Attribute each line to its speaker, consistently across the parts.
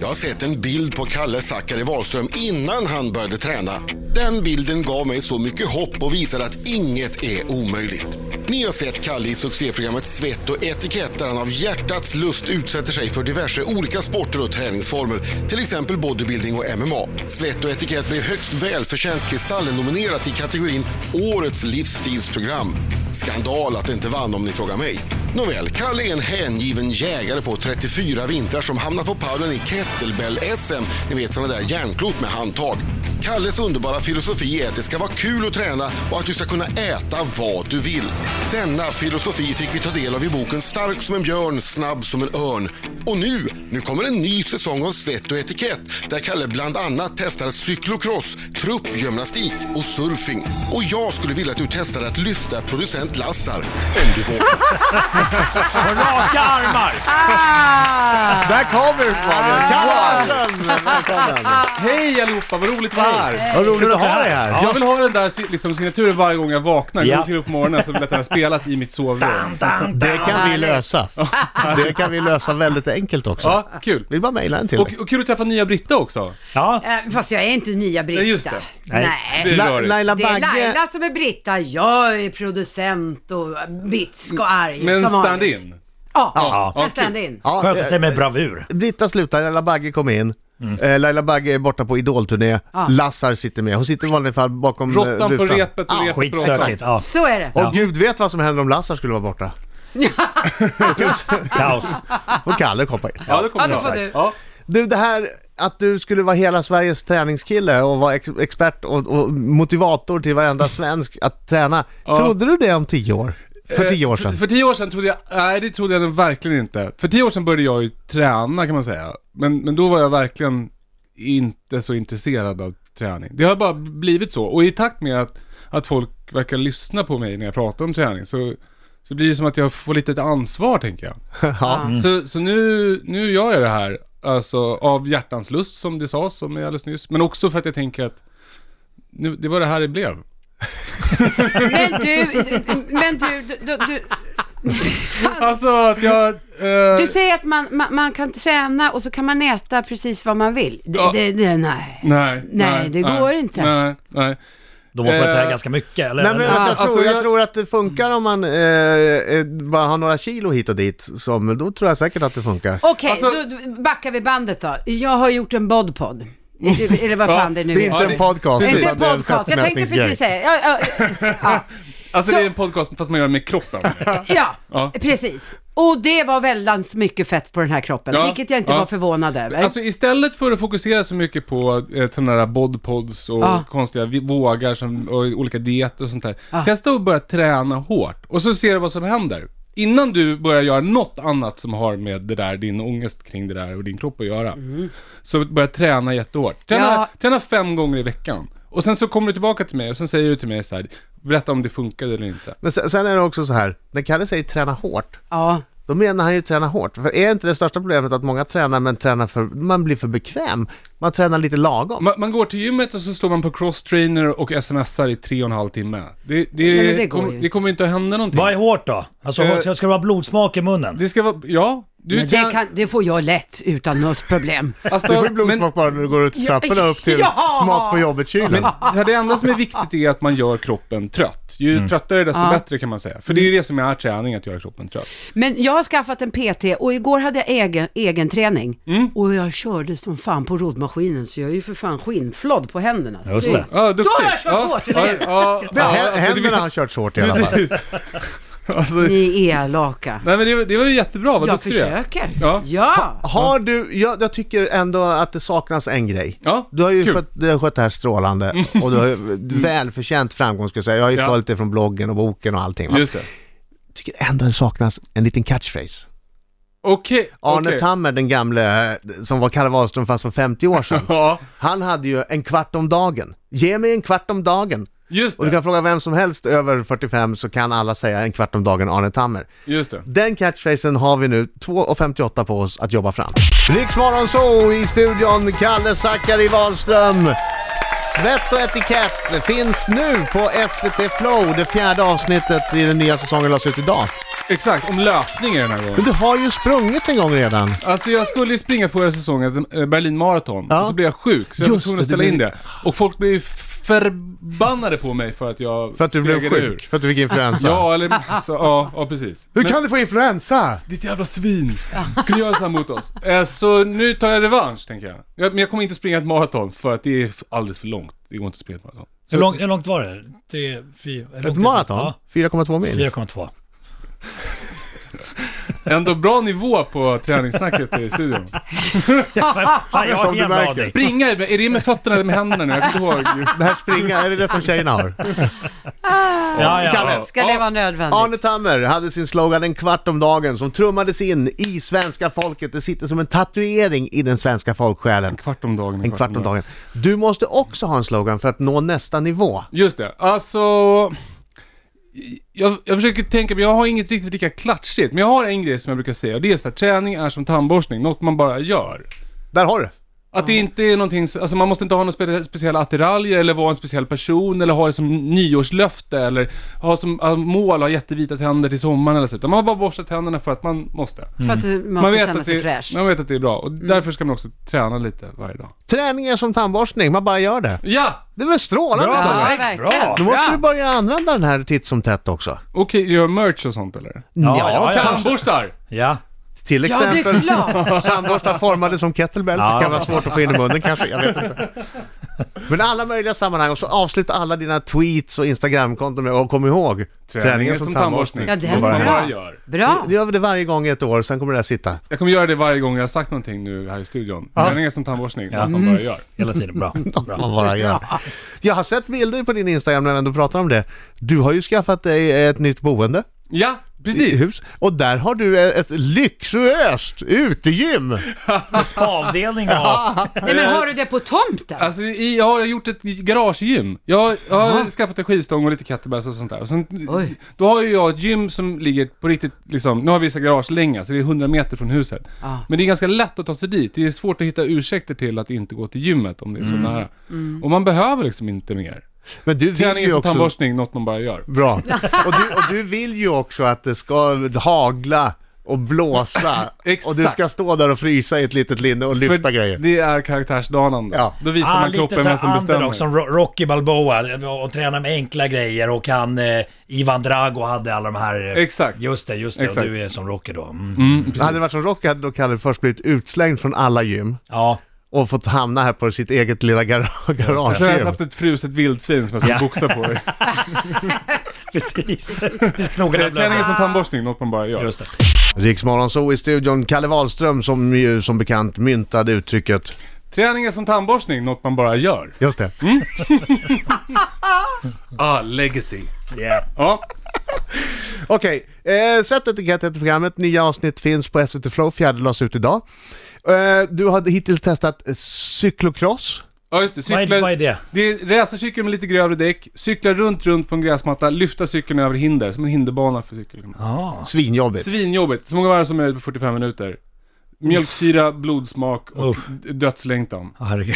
Speaker 1: Jag har sett en bild på Kalle Zackari Wahlström innan han började träna. Den bilden gav mig så mycket hopp och visar att inget är omöjligt. Ni har sett Kalle i succéprogrammet Svett och etikett där han av hjärtats lust utsätter sig för diverse olika sporter och träningsformer, till exempel bodybuilding och MMA. Svett och etikett blev högst välförtjänt Kristallen-nominerat i kategorin Årets livsstilsprogram. Skandal att det inte vann om ni frågar mig. Nåväl, Kalle är en hängiven jägare på 34 vintrar som hamnar på pallen i kettlebell-SM. Ni vet sådana där järnklot med handtag. Kalles underbara filosofi är att det ska vara kul att träna och att du ska kunna äta vad du vill. Denna filosofi fick vi ta del av i boken Stark som en björn, snabb som en örn. Och nu, nu kommer en ny säsong av Svett och etikett där Kalle bland annat testar cyklokross, truppgymnastik och surfing. Och jag skulle vilja att du testar att lyfta producent Lassar om du vågar.
Speaker 2: På raka armar!
Speaker 3: Ah!
Speaker 4: Där kom utmaningen! Kallen! Välkommen!
Speaker 5: Hej allihopa, vad roligt att vara här!
Speaker 4: Vad roligt att ha dig här!
Speaker 5: Jag vill ha den där si- liksom, signaturen varje gång jag vaknar.
Speaker 2: Ja.
Speaker 5: Går till upp på morgonen så vill jag att den här spelas i mitt sovrum.
Speaker 4: Det kan vi lösa. Det kan vi lösa väldigt enkelt också.
Speaker 5: Ja, kul.
Speaker 4: Vill bara mejla en till
Speaker 5: Och,
Speaker 4: dig.
Speaker 5: och kul att träffa nya Britta också.
Speaker 2: Ja,
Speaker 3: Eh, Fast jag är inte nya Britta.
Speaker 5: Nej, just det.
Speaker 3: Nej.
Speaker 5: Det är
Speaker 4: La-
Speaker 5: rörigt.
Speaker 4: Laila
Speaker 3: Det är
Speaker 4: Bagge,
Speaker 3: Laila som är Britta, jag är producent och bitsk och arg
Speaker 5: Men
Speaker 3: som vanligt.
Speaker 5: stand-in.
Speaker 3: Ja,
Speaker 2: Ja.
Speaker 3: en stand-in.
Speaker 4: ja,
Speaker 2: skötte sig med bravur.
Speaker 4: eh, Britta slutar, Laila Bagge kom in.
Speaker 5: Mm.
Speaker 4: Eh, Laila Bagge är borta på idolturné, Lassar sitter med. Hon sitter i vanliga fall bakom eh,
Speaker 5: Råttan på
Speaker 4: rutan.
Speaker 5: repet och
Speaker 4: Ja,
Speaker 5: repet på råttan.
Speaker 2: Skitstökigt. Ja,
Speaker 3: Så är det.
Speaker 4: Och gud vet vad som händer om Lassar skulle vara borta.
Speaker 2: kaos.
Speaker 4: Och Kalle koppar in.
Speaker 5: Ja, det
Speaker 3: Ja,
Speaker 5: kommer
Speaker 3: det
Speaker 5: jag.
Speaker 3: får du.
Speaker 5: Ja.
Speaker 4: Du, det här att du skulle vara hela Sveriges träningskille och vara ex- expert och, och motivator till varenda svensk att träna. Trodde du det om tio år? För tio år
Speaker 5: Eh,
Speaker 4: sedan?
Speaker 5: För, för tio år sedan trodde jag, nej det trodde jag verkligen inte. För tio år sedan började jag ju träna kan man säga. Men, men då var jag verkligen inte så intresserad av träning. Det har bara blivit så. Och i takt med att, att folk verkar lyssna på mig när jag pratar om träning så, så blir det som att jag får lite ett ansvar tänker jag.
Speaker 4: Ja. Mm.
Speaker 5: Så, så nu, nu gör jag det här, alltså av hjärtans lust som det sades som jag alldeles nyss. Men också för att jag tänker att nu, det var det här det blev.
Speaker 3: Men du, men du, du, du, du,
Speaker 5: Alltså att jag... eh,
Speaker 3: du säger att man, man, man kan träna och så kan man äta precis vad man vill. Det,
Speaker 5: Ja.
Speaker 3: det, det, nej.
Speaker 5: Nej,
Speaker 3: Nej, det går inte.
Speaker 5: Nej, nej.
Speaker 2: Då måste man träna
Speaker 5: Eh,
Speaker 2: ganska mycket, eller?
Speaker 4: Nej men
Speaker 2: Eller-
Speaker 4: jag, jag,
Speaker 5: Alltså,
Speaker 4: tror, jag
Speaker 5: jag-
Speaker 4: tror att det funkar om man eh, eh, bara har några kilo hit och dit, som, då tror jag säkert att det funkar.
Speaker 3: Okej,
Speaker 5: Alltså-
Speaker 3: då då backar vi bandet då. Jag har gjort en bodpod. Eller eller vad fan det nu
Speaker 4: Det är
Speaker 3: är.
Speaker 4: inte
Speaker 5: Ja,
Speaker 4: en
Speaker 5: det-
Speaker 4: podcast,
Speaker 3: Inte en
Speaker 4: utan det är en
Speaker 3: podcast, jag tänkte
Speaker 4: fettmätningsgrej.
Speaker 3: precis säga. Ja, ja, ja.
Speaker 5: Alltså
Speaker 3: Så-
Speaker 5: det är en podcast fast man gör det med kroppen.
Speaker 3: Ja,
Speaker 5: Ja.
Speaker 3: precis. Och det var väldigt mycket fett på den här kroppen,
Speaker 5: Ja,
Speaker 3: vilket jag inte
Speaker 5: ja.
Speaker 3: var förvånad över.
Speaker 5: alltså istället för att fokusera så mycket på eh, sådana där bodpods och
Speaker 3: Ja.
Speaker 5: konstiga vi- vågar som, och olika dieter och sånt där. Testa att börja träna hårt och så ser du vad som händer. Innan du börjar göra något annat som har med det där, din ångest kring det där och din kropp att göra. Så börja träna jättehårt. Träna,
Speaker 3: Mm. Ja.
Speaker 5: träna fem gånger i veckan. Och sen så kommer du tillbaka till mig och sen säger du till mig så här, berätta om det funkade eller inte.
Speaker 4: Men sen, sen är det också så här, när Kalle säger träna hårt,
Speaker 3: ja.
Speaker 4: då menar han ju träna hårt. För är inte det största problemet att många tränar, men tränar för, man blir för bekväm? Man tränar lite lagom.
Speaker 5: Man, man går till gymmet och så står man på cross-trainer och smsar i tre och en halv timme. Det, det,
Speaker 3: Nej, men det går
Speaker 5: kom,
Speaker 3: ju.
Speaker 5: det kommer inte att hända någonting.
Speaker 2: Vad är hårt då? Alltså,
Speaker 5: Eh,
Speaker 2: ska- ska det vara blodsmak i munnen?
Speaker 5: Det ska vara, ja. Du
Speaker 3: Men det, kan, det får jag lätt utan något problem.
Speaker 5: alltså,
Speaker 4: Du får ju blodsmak bara när du går ut trapporna upp till
Speaker 3: Ja!
Speaker 4: mat på jobbet-kylen.
Speaker 5: Men, men det enda som är viktigt är att man gör kroppen trött. Ju
Speaker 4: Mm.
Speaker 5: tröttare desto
Speaker 3: Ja.
Speaker 5: bättre kan man säga. För det är ju det som är träning, att göra kroppen trött.
Speaker 3: Men jag har skaffat en PT och igår hade jag egen, egen träning.
Speaker 5: Mm.
Speaker 3: Och jag körde som fan på roddmaskinen så jag är ju för fan skinnflådd på händerna. Så
Speaker 2: Just det.
Speaker 5: Ja, duktig.
Speaker 3: Då har jag kört hårt, eller hur?
Speaker 5: ja, ja,
Speaker 4: Ja,
Speaker 5: alltså, det är
Speaker 4: händerna har
Speaker 5: viktigt.
Speaker 4: kört hårt i alla fall.
Speaker 5: Precis. Alltså, nej
Speaker 3: Ni är elaka.
Speaker 5: men det, det var ju jättebra, vad
Speaker 3: Jag
Speaker 5: duktig du är.
Speaker 3: försöker.
Speaker 5: Ja.
Speaker 3: ja.
Speaker 4: Har du, jag, jag tycker ändå att det saknas en grej.
Speaker 5: Ja,
Speaker 4: Du har ju
Speaker 5: kul.
Speaker 4: skött, du har skött det här strålande och du har ju välförtjänt framgång ska jag säga. Jag har ju
Speaker 5: Ja.
Speaker 4: följt det från bloggen och boken och allting. Va?
Speaker 5: Just det.
Speaker 4: Jag tycker ändå det saknas en liten catchphrase.
Speaker 5: Okej,
Speaker 4: Arne
Speaker 5: okej.
Speaker 4: Tammer, den gamle eh, som var Kalle Wahlström fast för 50 år sedan.
Speaker 5: Ja,
Speaker 4: Han hade ju en kvart om dagen. Ge mig en kvart om dagen.
Speaker 5: just
Speaker 4: Och du
Speaker 5: det.
Speaker 4: kan fråga vem som helst över 45 så kan alla säga en kvart om dagen Arne Tammer.
Speaker 5: Just det.
Speaker 4: Den catchphrasen har vi nu 2.58 på oss att jobba fram. Riksmorgon så i studion, Kalle Zackari Wahlström. Svett och etikett finns nu på SVT Flow. Det fjärde avsnittet i den nya säsongen lades ut idag.
Speaker 5: Exakt, om löpning är den här
Speaker 4: Men
Speaker 5: gången.
Speaker 4: du har ju sprungit en gång redan.
Speaker 5: Alltså jag skulle ju springa förra säsongen, eh, Berlin Marathon,
Speaker 4: Ja.
Speaker 5: och så blev jag sjuk så jag var
Speaker 4: Just
Speaker 5: tvungen att
Speaker 4: det,
Speaker 5: ställa
Speaker 4: du
Speaker 5: in
Speaker 4: blev-
Speaker 5: det. Och folk blev ju förbannade på mig för att jag
Speaker 4: För att du blev
Speaker 5: fegade
Speaker 4: sjuk, för att du fick influensa.
Speaker 5: Ja, eller alltså, ja, ja, precis.
Speaker 4: Hur
Speaker 5: Men-
Speaker 4: kan du få influensa?
Speaker 5: Ditt jävla svin! Kunde göra så här mot oss. Eh, Så nu tar jag revansch, tänker jag. Jag- Men jag kommer inte springa ett maraton, för att det är f- alldeles för långt. Det går inte att springa ett maraton.
Speaker 2: Hur långt, hur långt var det? Tre, fyra, hur långt
Speaker 4: Ett
Speaker 2: är det?
Speaker 4: maraton?
Speaker 2: Ja,
Speaker 4: 4,2 mil?
Speaker 2: 4,2.
Speaker 5: Ändå bra nivå på träningssnacket i studion.
Speaker 2: Fan, jag har
Speaker 4: Som
Speaker 2: en
Speaker 4: du
Speaker 2: jävla
Speaker 4: märker.
Speaker 2: aning.
Speaker 5: Springa, är är det med fötterna eller med händerna nu? Jag kommer inte ihåg.
Speaker 4: Det här springa, är det det som tjejerna har?
Speaker 2: Ja, ja.
Speaker 4: Kalle.
Speaker 3: Ska det vara nödvändigt?
Speaker 4: Arne Tammer hade sin slogan En kvart om dagen som trummades in i svenska folket. Det sitter som en tatuering i den svenska folksjälen.
Speaker 5: Kvart om dagen.
Speaker 4: En kvart om dagen. Du måste också ha en slogan för att nå nästa nivå.
Speaker 5: Just det. Alltså... Jag, jag försöker tänka, men jag har inget riktigt lika klatschigt. Men jag har en grej som jag brukar säga och det är så här, träning är som tandborstning, något man bara gör.
Speaker 4: Där har du!
Speaker 5: Att det inte är någonting, så- alltså man måste inte ha några spe, speciella attiraljer eller vara en speciell person eller ha det som nyårslöfte eller ha som äh, mål att ha jättevita tänder till sommaren eller så. Utan man bara borstar tänderna för att man måste.
Speaker 3: För att eh, man, ska känna sig
Speaker 5: det,
Speaker 3: fräsch. Mm.
Speaker 5: Man vet Mm. att det är bra och därför ska man också träna lite varje dag.
Speaker 4: Träning är som tandborstning, man bara gör det.
Speaker 5: Ja!
Speaker 4: Det är väl strålande
Speaker 2: Bra.
Speaker 4: slogan?
Speaker 3: ja,
Speaker 2: Perfekt.
Speaker 3: verkligen.
Speaker 2: Bra.
Speaker 4: Då måste du börja använda den här titt som tätt också.
Speaker 5: Okej, gör merch och sånt eller?
Speaker 2: Ja, ja, ja.
Speaker 4: kanske.
Speaker 5: Tandborstar!
Speaker 2: Ja.
Speaker 4: Till
Speaker 3: Ja, det
Speaker 4: exempel
Speaker 3: är klart.
Speaker 4: tandborstar formade som kettlebells
Speaker 2: Ja.
Speaker 4: kan vara svårt att få in i munnen kanske, jag vet inte. Men alla möjliga sammanhang och så avsluta alla dina tweets och instagramkonton med och kom ihåg, träningen som tandborstning.
Speaker 3: Ja, den
Speaker 5: Och
Speaker 3: är
Speaker 5: bara-
Speaker 3: bra.
Speaker 5: bara gör.
Speaker 3: Bra.
Speaker 4: Du gör det varje gång i ett år, sen kommer det där sitta.
Speaker 5: Jag kommer göra det varje gång jag har sagt någonting nu här i studion. Träning är som tandborstning, något man
Speaker 3: Mm.
Speaker 5: bara gör.
Speaker 2: Hela tiden. Bra.
Speaker 4: Man
Speaker 2: Bra.
Speaker 4: bara gör. Jag har sett bilder på din Instagram när vi ändå pratar om det. Du har ju skaffat dig ett nytt boende.
Speaker 5: Ja,
Speaker 4: i
Speaker 5: precis!
Speaker 4: Hus, och där har du ett lyxöst utegym!
Speaker 2: Avdelning och...
Speaker 3: Nej, men har du det på tomten?
Speaker 5: Alltså i, jag har gjort ett garagegym. Jag, har- jag har skaffat en skivstång och lite kettlebells och sånt där. Och sen,
Speaker 3: Oj.
Speaker 5: då har ju jag ett gym som ligger på riktigt, liksom, nu har vi vissa garagelänga så det är 100 meter från huset.
Speaker 3: Ah.
Speaker 5: Men det är ganska lätt att ta sig dit. Det är svårt att hitta ursäkter till att inte gå till gymmet om det
Speaker 3: Mm.
Speaker 5: är så nära. Och man behöver liksom inte mer.
Speaker 4: Men du vill
Speaker 5: Träning är
Speaker 4: ju
Speaker 5: som
Speaker 4: också...
Speaker 5: tandborstning, något man bara gör.
Speaker 4: Bra. Och du, och du vill ju också att det ska hagla och blåsa
Speaker 5: Exakt.
Speaker 4: och du ska stå där och frysa i ett litet linne och lyfta
Speaker 5: För
Speaker 4: grejer.
Speaker 5: Det är karaktärsdanande.
Speaker 4: Ja.
Speaker 5: Då visar
Speaker 2: Ah,
Speaker 5: man
Speaker 2: lite
Speaker 5: kroppen vem som
Speaker 2: såhär
Speaker 5: bestämmer.
Speaker 2: underdog som Ro- Rocky Balboa och- och tränar med enkla grejer och han eh, Ivan Drago hade alla de här... eh,
Speaker 5: Exakt.
Speaker 2: Just det, just det. Och
Speaker 5: Exakt.
Speaker 2: du är som Rocky då. Mm.
Speaker 5: Mm, precis.
Speaker 4: Hade det varit som Rocky hade då Kalle först blivit utslängd från alla gym
Speaker 2: Ja.
Speaker 4: och fått hamna här på sitt eget lilla gar-
Speaker 5: Så jag hade
Speaker 4: garagegym.
Speaker 5: haft ett fruset vildsvin som jag skulle
Speaker 2: Ja.
Speaker 5: boxa på.
Speaker 2: Precis. Vi snogar den
Speaker 5: Träning är
Speaker 2: där.
Speaker 5: som tandborstning, något man bara gör.
Speaker 2: Just det.
Speaker 4: Riksmorgon så i studion, Kalle Wahlström som ju som bekant myntade uttrycket. Mm.
Speaker 5: Träning är som tandborstning, något man bara gör.
Speaker 4: Just det.
Speaker 5: Ah, legacy.
Speaker 2: Yeah.
Speaker 5: Ja,
Speaker 4: Okej, eh, Svett och etikett heter programmet. Nya avsnitt finns på SVT Flow, fjärde lades ut idag. Eh, du har hittills testat eh, cyklocross.
Speaker 5: ja just det.
Speaker 2: Vad är, vad är
Speaker 5: Cyklar,
Speaker 2: det?
Speaker 5: det är racercykel med lite grövre däck, cykla runt, runt på en gräsmatta, lyfta cykeln över hinder, som en hinderbana för cykel.
Speaker 2: Ja.
Speaker 4: Svinjobbigt.
Speaker 5: Svinjobbigt. Så många varv som möjligt på 45 minuter. Mjölksyra, blodsmak och
Speaker 2: Uff.
Speaker 5: d- dödslängtan.
Speaker 2: Ah, herregud.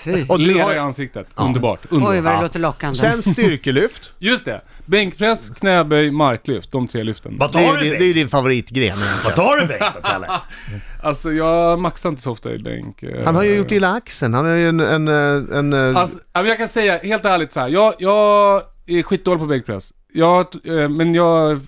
Speaker 3: Fy.
Speaker 4: Och du
Speaker 5: Lera i
Speaker 4: har,
Speaker 5: ansiktet. Underbart.
Speaker 3: Oj,
Speaker 5: Underbart.
Speaker 3: vad det låter lockande.
Speaker 4: sen styrkelyft.
Speaker 5: Just det. Bänkpress, knäböj, marklyft. De tre lyften.
Speaker 2: Vad
Speaker 4: Det är,
Speaker 2: tar
Speaker 4: ju
Speaker 2: du
Speaker 4: din- det är
Speaker 2: Bengt?
Speaker 4: ju din favoritgren.
Speaker 2: Vad tar du Bengt då, Kalle?
Speaker 5: Alltså jag maxar inte så ofta i bänk. eh.
Speaker 4: Han har ju gjort illa axeln. Han har ju en... en, eh, en eh,
Speaker 5: Alltså, ja, men jag kan säga helt ärligt så här. Jag, jag är skitdålig på bänkpress. Jag, eh, men jag, eh,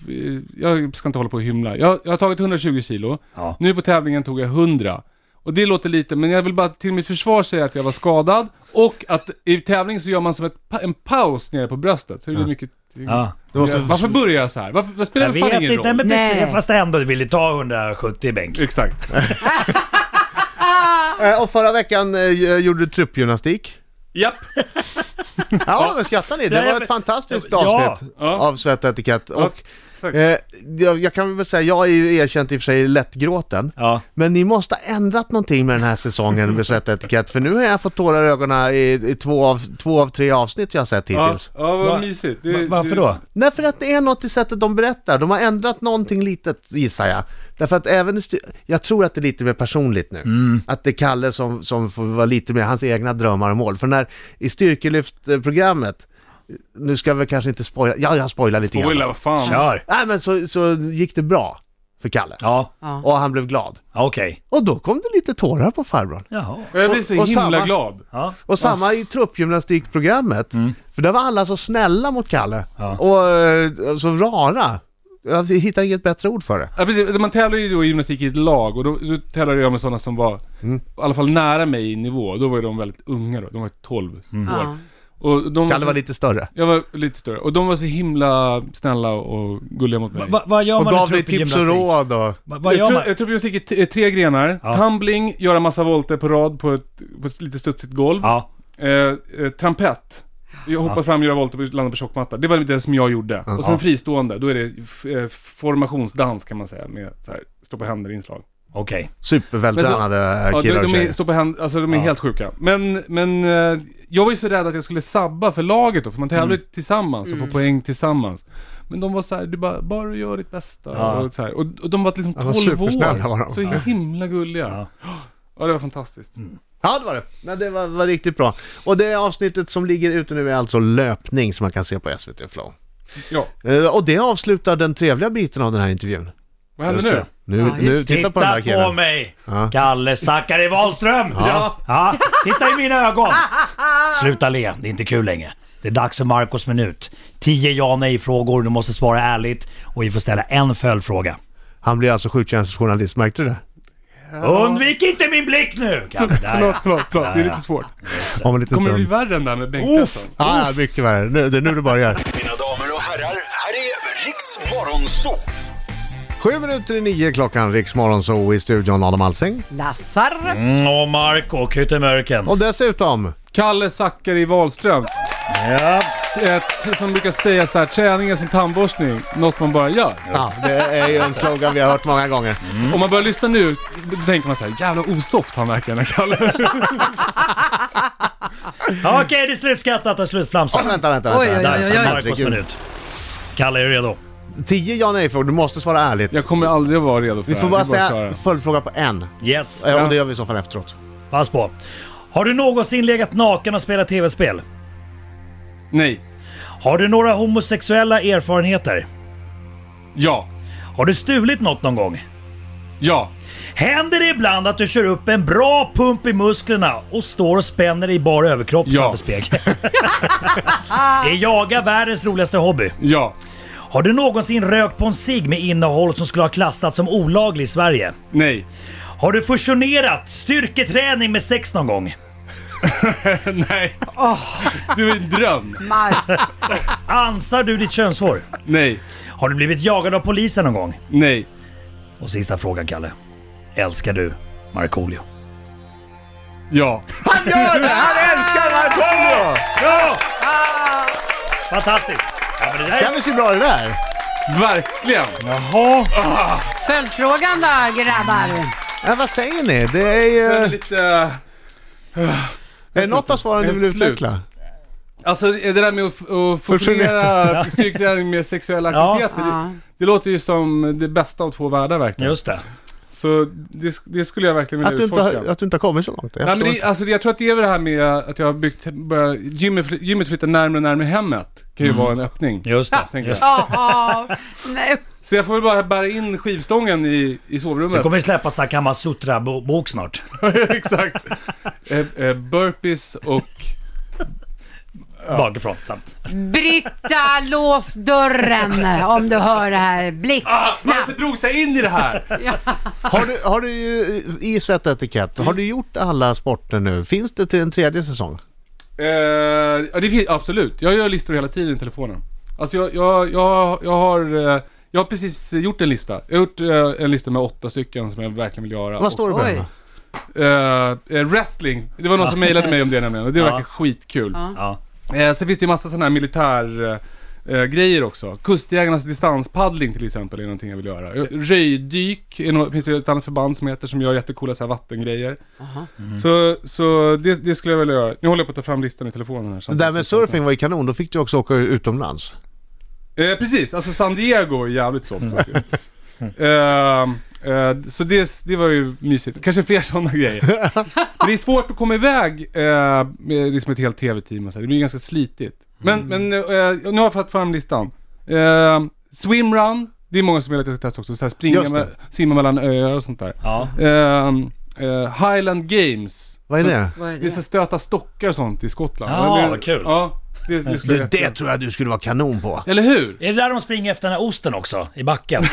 Speaker 5: jag ska inte hålla på och hymla. Jag, jag har tagit 120 kilo.
Speaker 2: Ja.
Speaker 5: Nu på tävlingen tog jag 100. Och det låter lite, men jag vill bara till mitt försvar säga att jag var skadad. Och att i tävling så gör man som ett, pa- en paus nere på bröstet. Så det blir mycket...
Speaker 2: Ja.
Speaker 4: du måste,
Speaker 5: Varför börjar jag så här? Varför, vad spelar
Speaker 2: Jag
Speaker 5: det fan
Speaker 2: vet
Speaker 5: ingen
Speaker 2: inte,
Speaker 5: roll?
Speaker 2: men
Speaker 3: Nej.
Speaker 2: precis, fast ändå du ville ta 170 Bengt.
Speaker 5: Exakt.
Speaker 4: Eh, och förra veckan eh, gjorde du truppgymnastik.
Speaker 5: Japp.
Speaker 4: Ja, men skrattar ni? Det
Speaker 2: Nej,
Speaker 4: var ett
Speaker 2: men-
Speaker 4: fantastiskt
Speaker 2: Ja.
Speaker 4: avsnitt
Speaker 5: Ja.
Speaker 4: av Svett och etikett. Och,
Speaker 5: tack.
Speaker 4: eh, jag, jag kan väl säga, jag är ju erkänt i och för sig lättgråten.
Speaker 2: Ja.
Speaker 4: Men ni måste ha ändrat någonting med den här säsongen med Svett och etikett. För nu har jag fått tårar i ögonen i, i två, av, två av tre avsnitt jag har sett
Speaker 5: Ja,
Speaker 4: hittills.
Speaker 5: ja vad
Speaker 2: Va-
Speaker 5: mysigt.
Speaker 2: Va- Varför då?
Speaker 4: Nej, för att det är något i sättet de berättar. De har ändrat någonting litet, gissar jag. Därför att även i stu- Jag tror att det är lite mer personligt nu. Att det är Kalle som, som får vara lite mer hans egna drömmar och mål. För när, i styrkelyftprogrammet nu ska jag väl kanske inte spoila, ja jag spoilar lite
Speaker 5: Spoila,
Speaker 4: grann.
Speaker 5: vad fan.
Speaker 2: Kör!
Speaker 4: Nej men så, så gick det bra för Kalle.
Speaker 2: Ja,
Speaker 3: Ja.
Speaker 4: Och han blev glad.
Speaker 2: okej.
Speaker 4: Och då kom det lite tårar på farbrorn.
Speaker 2: Jaha.
Speaker 5: Jag blir så
Speaker 4: Och- och
Speaker 5: himla
Speaker 4: samma.
Speaker 5: glad.
Speaker 2: Ja.
Speaker 4: Och samma i truppgymnastikprogrammet. För där var alla så snälla mot Kalle.
Speaker 2: Ja.
Speaker 4: Och eh, så rara. Jag hittar inget bättre ord för det.
Speaker 5: Ja, precis. Man tävlar ju då i gymnastik i ett lag och då, då tävlade jag med sådana som var
Speaker 2: Mm.
Speaker 5: i alla fall nära mig i nivå. Då var ju de väldigt unga då. De var 12 år.
Speaker 3: Ja.
Speaker 5: Och de
Speaker 4: Kalle var
Speaker 5: så,
Speaker 4: lite större.
Speaker 5: jag var lite större. Och de var så himla snälla och gulliga mot mig.
Speaker 2: Va- va- Vad gör
Speaker 4: Och
Speaker 2: man i
Speaker 4: gav dig tips och
Speaker 2: truppgymnastik?
Speaker 4: råd och...
Speaker 2: Va- Vad
Speaker 5: jag
Speaker 2: gör
Speaker 5: tror,
Speaker 2: man?
Speaker 5: jag tror gymnastik är t- är tre grenar.
Speaker 2: Ja.
Speaker 5: Tumbling, göra massa volter på rad på ett, på ett lite studsigt golv.
Speaker 2: Ja.
Speaker 5: Eh, eh, trampett. Jag hoppar fram, gör volter, och landar på tjockmatta. Det var det som jag gjorde. Och sen
Speaker 2: Ja.
Speaker 5: fristående, då är det f- eh, formationsdans kan man säga med så här, stå på händer-inslag.
Speaker 2: Okej.
Speaker 4: Supervältränade
Speaker 5: Ja, de,
Speaker 4: eh, killar och
Speaker 5: de är,
Speaker 4: tjejer.
Speaker 5: står på hand, alltså de är
Speaker 2: Ja.
Speaker 5: helt sjuka. Men, men eh, jag var ju så rädd att jag skulle sabba för laget då, för man tävlar ju
Speaker 4: Mm.
Speaker 5: tillsammans och får poäng tillsammans. Men de var så här, du bara, bara du gör ditt bästa.
Speaker 2: Ja.
Speaker 5: Och, så här. Och, och de var liksom
Speaker 4: Ja, de var
Speaker 5: 12
Speaker 4: supersnälla var
Speaker 5: år.
Speaker 4: de.
Speaker 5: Så himla gulliga. Ja. det var fantastiskt.
Speaker 4: Mm. Ja, det var det. Men det var, var riktigt bra. Och det avsnittet som ligger ute nu är alltså löpning som man kan se på SVT Flow.
Speaker 5: Ja,
Speaker 4: Eh, Och det avslutar den trevliga biten av den här intervjun.
Speaker 5: vad händer
Speaker 2: Just
Speaker 5: nu?
Speaker 2: det.
Speaker 4: Nu,
Speaker 3: Ja, just
Speaker 4: nu
Speaker 3: det.
Speaker 4: titta, på den där killen.
Speaker 2: mig!
Speaker 4: Ja.
Speaker 2: Kalle Zackari Wahlström!
Speaker 4: Ja.
Speaker 2: Ja, Titta i mina ögon! Sluta le, det är inte kul längre. Det är dags för Marcos minut. 10 ja nej-frågor, du måste svara ärligt och vi får ställa en följdfråga.
Speaker 4: Han blir alltså sjuktjänstjournalist, märkte du det?
Speaker 2: Undvik inte min blick nu! Kalle, där
Speaker 5: Förlåt,
Speaker 2: ja.
Speaker 5: förlåt, förlåt. Det är
Speaker 2: Ja,
Speaker 5: lite svårt.
Speaker 4: Om en liten
Speaker 5: Kommer det bli
Speaker 4: stund.
Speaker 5: värre än det här med bänkpressen?
Speaker 4: Ja, ja, mycket värre. Nu, det är nu det börjar.
Speaker 6: Mina damer och herrar, här är Riks Morgonzoo!
Speaker 4: Sju minuter i nio klockan, Riksmorgon så i studion Adam Alsing.
Speaker 3: Lassar.
Speaker 2: Mm, och Marco, Kuttemörken.
Speaker 4: Och dessutom,
Speaker 5: Kalle Zackari Wahlström.
Speaker 2: Ja.
Speaker 5: Ett, som brukar säga så här, träning är som tandborstning. Något man bara gör.
Speaker 4: ja, det är ju en slogan vi har hört många gånger.
Speaker 5: Om man börjar lyssna nu, då tänker man så här, jävla osoft han verkar den här Kalle.
Speaker 2: Ja, Okej, det är slutskattat och
Speaker 4: Oh,
Speaker 2: slutflamsat.
Speaker 4: vänta, vänta,
Speaker 3: Oj, oj, oj.
Speaker 4: vänta.
Speaker 2: Dags för Marcos
Speaker 4: herregud.
Speaker 2: minut. Kalle, är du redo?
Speaker 4: Tio ja nej-frågor, du måste svara ärligt.
Speaker 5: Jag kommer aldrig att vara redo för
Speaker 4: Vi
Speaker 5: det
Speaker 4: får
Speaker 5: här.
Speaker 4: bara
Speaker 5: Det är
Speaker 4: säga
Speaker 5: att köra.
Speaker 4: följdfråga på en.
Speaker 2: Yes,
Speaker 4: Eh, Och det gör vi i så fall efteråt.
Speaker 2: pass på. Har du någonsin legat naken och spelat tv-spel?
Speaker 5: Nej.
Speaker 2: Har du några homosexuella erfarenheter?
Speaker 5: Ja.
Speaker 2: Har du stulit något någon gång?
Speaker 5: Ja.
Speaker 2: Händer det ibland att du kör upp en bra pump i musklerna och står och spänner dig i bara överkropp
Speaker 5: Ja.
Speaker 2: framför spegeln? är jaga världens roligaste hobby?
Speaker 5: Ja.
Speaker 2: Har du någonsin rökt på en cigg med innehåll som skulle ha klassats som olaglig i Sverige?
Speaker 5: Nej.
Speaker 2: Har du fusionerat styrketräning med sex någon gång?
Speaker 5: Nej. Oh. Du är en dröm.
Speaker 3: Mark.
Speaker 2: Ansar du ditt könshår?
Speaker 5: Nej.
Speaker 2: Har du blivit jagad av polisen någon gång?
Speaker 5: Nej.
Speaker 2: Och sista frågan Kalle. Älskar du Markoolio?
Speaker 5: Ja.
Speaker 4: Han gör det! Han älskar Markoolio!
Speaker 2: Ja! Fantastiskt! Ja, men det där...
Speaker 4: Kändes ju bra det där.
Speaker 5: Verkligen.
Speaker 2: Jaha!
Speaker 3: Följdfrågan då grabbar.
Speaker 4: Men vad säger ni? Det är
Speaker 5: Jag är
Speaker 4: ju...
Speaker 5: lite...
Speaker 4: Är det något av svaren du vill
Speaker 5: Helt slut.
Speaker 4: utveckla?
Speaker 5: Alltså det där med att, att fusionera styrketräning med sexuella
Speaker 2: Ja.
Speaker 5: aktiviteter,
Speaker 3: Ja.
Speaker 5: det, det låter ju som det bästa av två världar verkligen.
Speaker 2: Just det.
Speaker 5: Så det, det skulle jag verkligen vilja
Speaker 4: Att du, inte har,
Speaker 5: utforska.
Speaker 4: att du inte har kommit så långt?
Speaker 5: Nej,
Speaker 4: Jag
Speaker 5: men
Speaker 4: förstår
Speaker 5: det,
Speaker 4: inte.
Speaker 5: alltså, det- jag tror att det är väl det här med att jag har byggt, börjat, gymmet, fly- gymmet flyttar närmare och närmare hemmet. Kan ju vara en öppning.
Speaker 2: Just det.
Speaker 5: tänker
Speaker 2: Just det.
Speaker 5: jag.
Speaker 3: Ja. Nej.
Speaker 5: Så jag får väl bara bära in skivstången i, i
Speaker 2: Det
Speaker 5: sovrummet.
Speaker 2: kommer ju släppas Sakama Sutra-bok snart.
Speaker 5: Exakt. eh, eh, burpees och...
Speaker 2: Bakifrån. Så.
Speaker 3: Britta, lås dörren om du hör det här. Blixtsnabbt.
Speaker 5: Ah, varför drog sig in i det här?
Speaker 4: Har du, har du ju- i Svett och Etikett,
Speaker 5: Mm.
Speaker 4: har du gjort alla sporter nu? Finns det till en tredje säsong?
Speaker 5: eh, ja, det finns, absolut. Jag gör listor hela tiden i telefonen. Alltså jag, jag, jag, jag har... Eh, jag har precis gjort en lista. Jag har gjort eh, en lista med åtta stycken som jag verkligen vill göra.
Speaker 4: Vad står det på den
Speaker 3: Oj.
Speaker 4: då?
Speaker 5: Eh, eh, wrestling. Det var någon som mejlade mig om det nämligen och det verkar skitkul.
Speaker 2: Ja.
Speaker 5: Eh, sen finns det ju massa sådana här militär... Eh, grejer också. Kustjägarnas distanspaddling till exempel är någonting jag vill göra. Eh, Röjdyk, är no- finns det ett annat förband som heter som gör jättecoola så här vattengrejer. Så, så det, det skulle jag vilja göra. Nu håller jag på att ta fram listan i telefonen här.
Speaker 4: Det där med surfing var ju kanon, då fick du också åka utomlands.
Speaker 5: Eh, precis, alltså San Diego är jävligt
Speaker 4: Mm.
Speaker 5: soft faktiskt. Ehm, eh, så det, det var ju mysigt. Kanske fler sådana grejer. Men det är svårt att komma iväg eh, med liksom ett helt tv-team och så här. Det blir ganska slitigt. Men,
Speaker 4: Mm.
Speaker 5: men eh, nu har jag fått fram listan. Eh, swimrun, det är många som vill att jag ska testa också. Så här springa
Speaker 4: Just det.
Speaker 5: med, simma mellan öar och sånt där.
Speaker 2: Ja.
Speaker 5: Ehm, eh, Highland Games.
Speaker 4: Vad är
Speaker 5: Så-
Speaker 4: det?
Speaker 3: Vad är
Speaker 5: Det är så här stöta stockar och sånt i Skottland.
Speaker 2: Ja,
Speaker 5: Men det,
Speaker 2: vad kul.
Speaker 5: Ja, det, det, skulle
Speaker 4: Det,
Speaker 5: jag
Speaker 4: det
Speaker 5: jättegärna-
Speaker 4: tror jag du skulle vara kanon på.
Speaker 5: Eller hur?
Speaker 2: Är det där de springer efter den här osten också? I backen?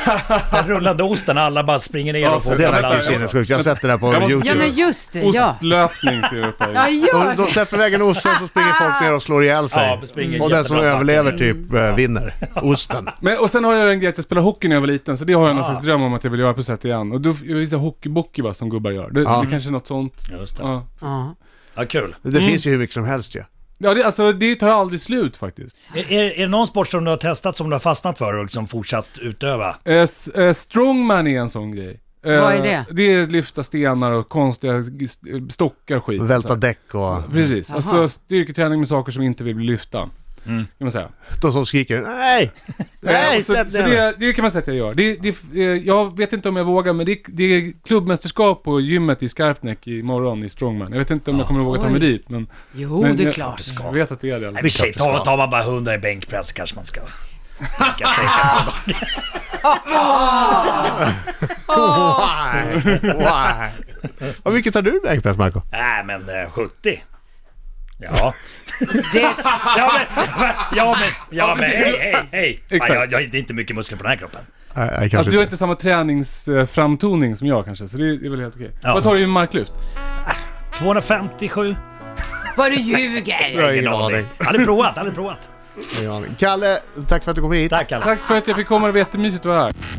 Speaker 2: Den rullande osten, alla bara springer ner
Speaker 5: Ja,
Speaker 2: och
Speaker 5: så
Speaker 2: får
Speaker 4: Det
Speaker 5: Ja,
Speaker 4: verkar
Speaker 5: men-
Speaker 4: ju sinnessjukt. Jag har sett det där på
Speaker 5: Jag måste-
Speaker 4: YouTube.
Speaker 3: Ja men just det, Eh, ja.
Speaker 5: Ostlöpning ser du på.
Speaker 3: Ja, gör
Speaker 4: De,
Speaker 3: det.
Speaker 4: de släpper iväg en ost och så springer folk ner och slår ihjäl sig.
Speaker 2: Ja, springer
Speaker 4: och den som
Speaker 2: jättebra
Speaker 4: överlever typ eh,
Speaker 5: Mm.
Speaker 4: vinner. Osten.
Speaker 5: Men, och sen har jag en grej att jag spelade hockey när jag var liten, så det har jag någon slags dröm om att jag vill göra på sätt igen. Och då, jag vill säga hockeybockey va, som gubbar gör. Det,
Speaker 4: Ja.
Speaker 5: det kanske är något sånt.
Speaker 2: Just det.
Speaker 5: Ja,
Speaker 3: Ja.
Speaker 2: Ja, kul.
Speaker 4: Det
Speaker 5: Mm.
Speaker 4: finns ju hur mycket som helst ju.
Speaker 5: ja det, alltså det tar aldrig slut faktiskt.
Speaker 2: Är, är, är det någon sport som du har testat som du har fastnat för och liksom fortsatt utöva?
Speaker 5: Eh, s- eh, strongman är en sån grej. Eh,
Speaker 3: Vad är det?
Speaker 5: Det är lyfta stenar och konstiga g- st- eh, stockar och skit. Så
Speaker 4: Välta
Speaker 5: här.
Speaker 4: däck och
Speaker 5: Precis,
Speaker 3: Jaha.
Speaker 5: alltså styrketräning med saker som inte vill bli lyfta. Kan man säga.
Speaker 4: de som skriker nej, nej
Speaker 5: Eh, så,
Speaker 4: släpp
Speaker 5: så
Speaker 4: ner mig.
Speaker 5: det, det kan man säga att jag gör. Det, det, eh, jag vet inte om jag vågar, men det, det är klubbmästerskap på gymmet i Skarpnäck imorgon i strongman. Jag vet inte om jag kommer att våga ta mig
Speaker 3: Oj.
Speaker 5: dit, men...
Speaker 3: Jo,
Speaker 5: men
Speaker 3: det är
Speaker 5: jag-
Speaker 3: klart.
Speaker 5: Jag vet att det är det. i alla
Speaker 2: Nej,
Speaker 5: fall.
Speaker 2: men
Speaker 4: klart
Speaker 2: tjej,
Speaker 4: du ska.
Speaker 2: tar, tar man bara 100 i bänkpress kanske man ska... Tänka,
Speaker 4: Why? Why? Hur mycket tar du i bänkpress Marco?
Speaker 2: Nej men eh, 70. Ja.
Speaker 3: Det,
Speaker 2: Ja men, ja men, ja men hej, hej, hej.
Speaker 5: Exakt.
Speaker 2: Fan, jag, jag, det är inte mycket muskler på den här kroppen.
Speaker 4: Nej, nej, kanske
Speaker 5: Alltså du har
Speaker 4: inte.
Speaker 5: inte samma träningsframtoning som jag kanske, så det är, det är väl helt okej.
Speaker 2: Ja.
Speaker 5: Vad tar du i marklyft?
Speaker 2: 257.
Speaker 3: vad du ljuger!
Speaker 4: Jag har ingen
Speaker 2: Ingen aning.
Speaker 4: aning.
Speaker 2: Aldrig provat, aldrig provat.
Speaker 4: Ingen aning. Kalle, tack för att du kom hit.
Speaker 2: Tack alla.
Speaker 5: Tack för att jag fick komma, det var jättemysigt att vara här.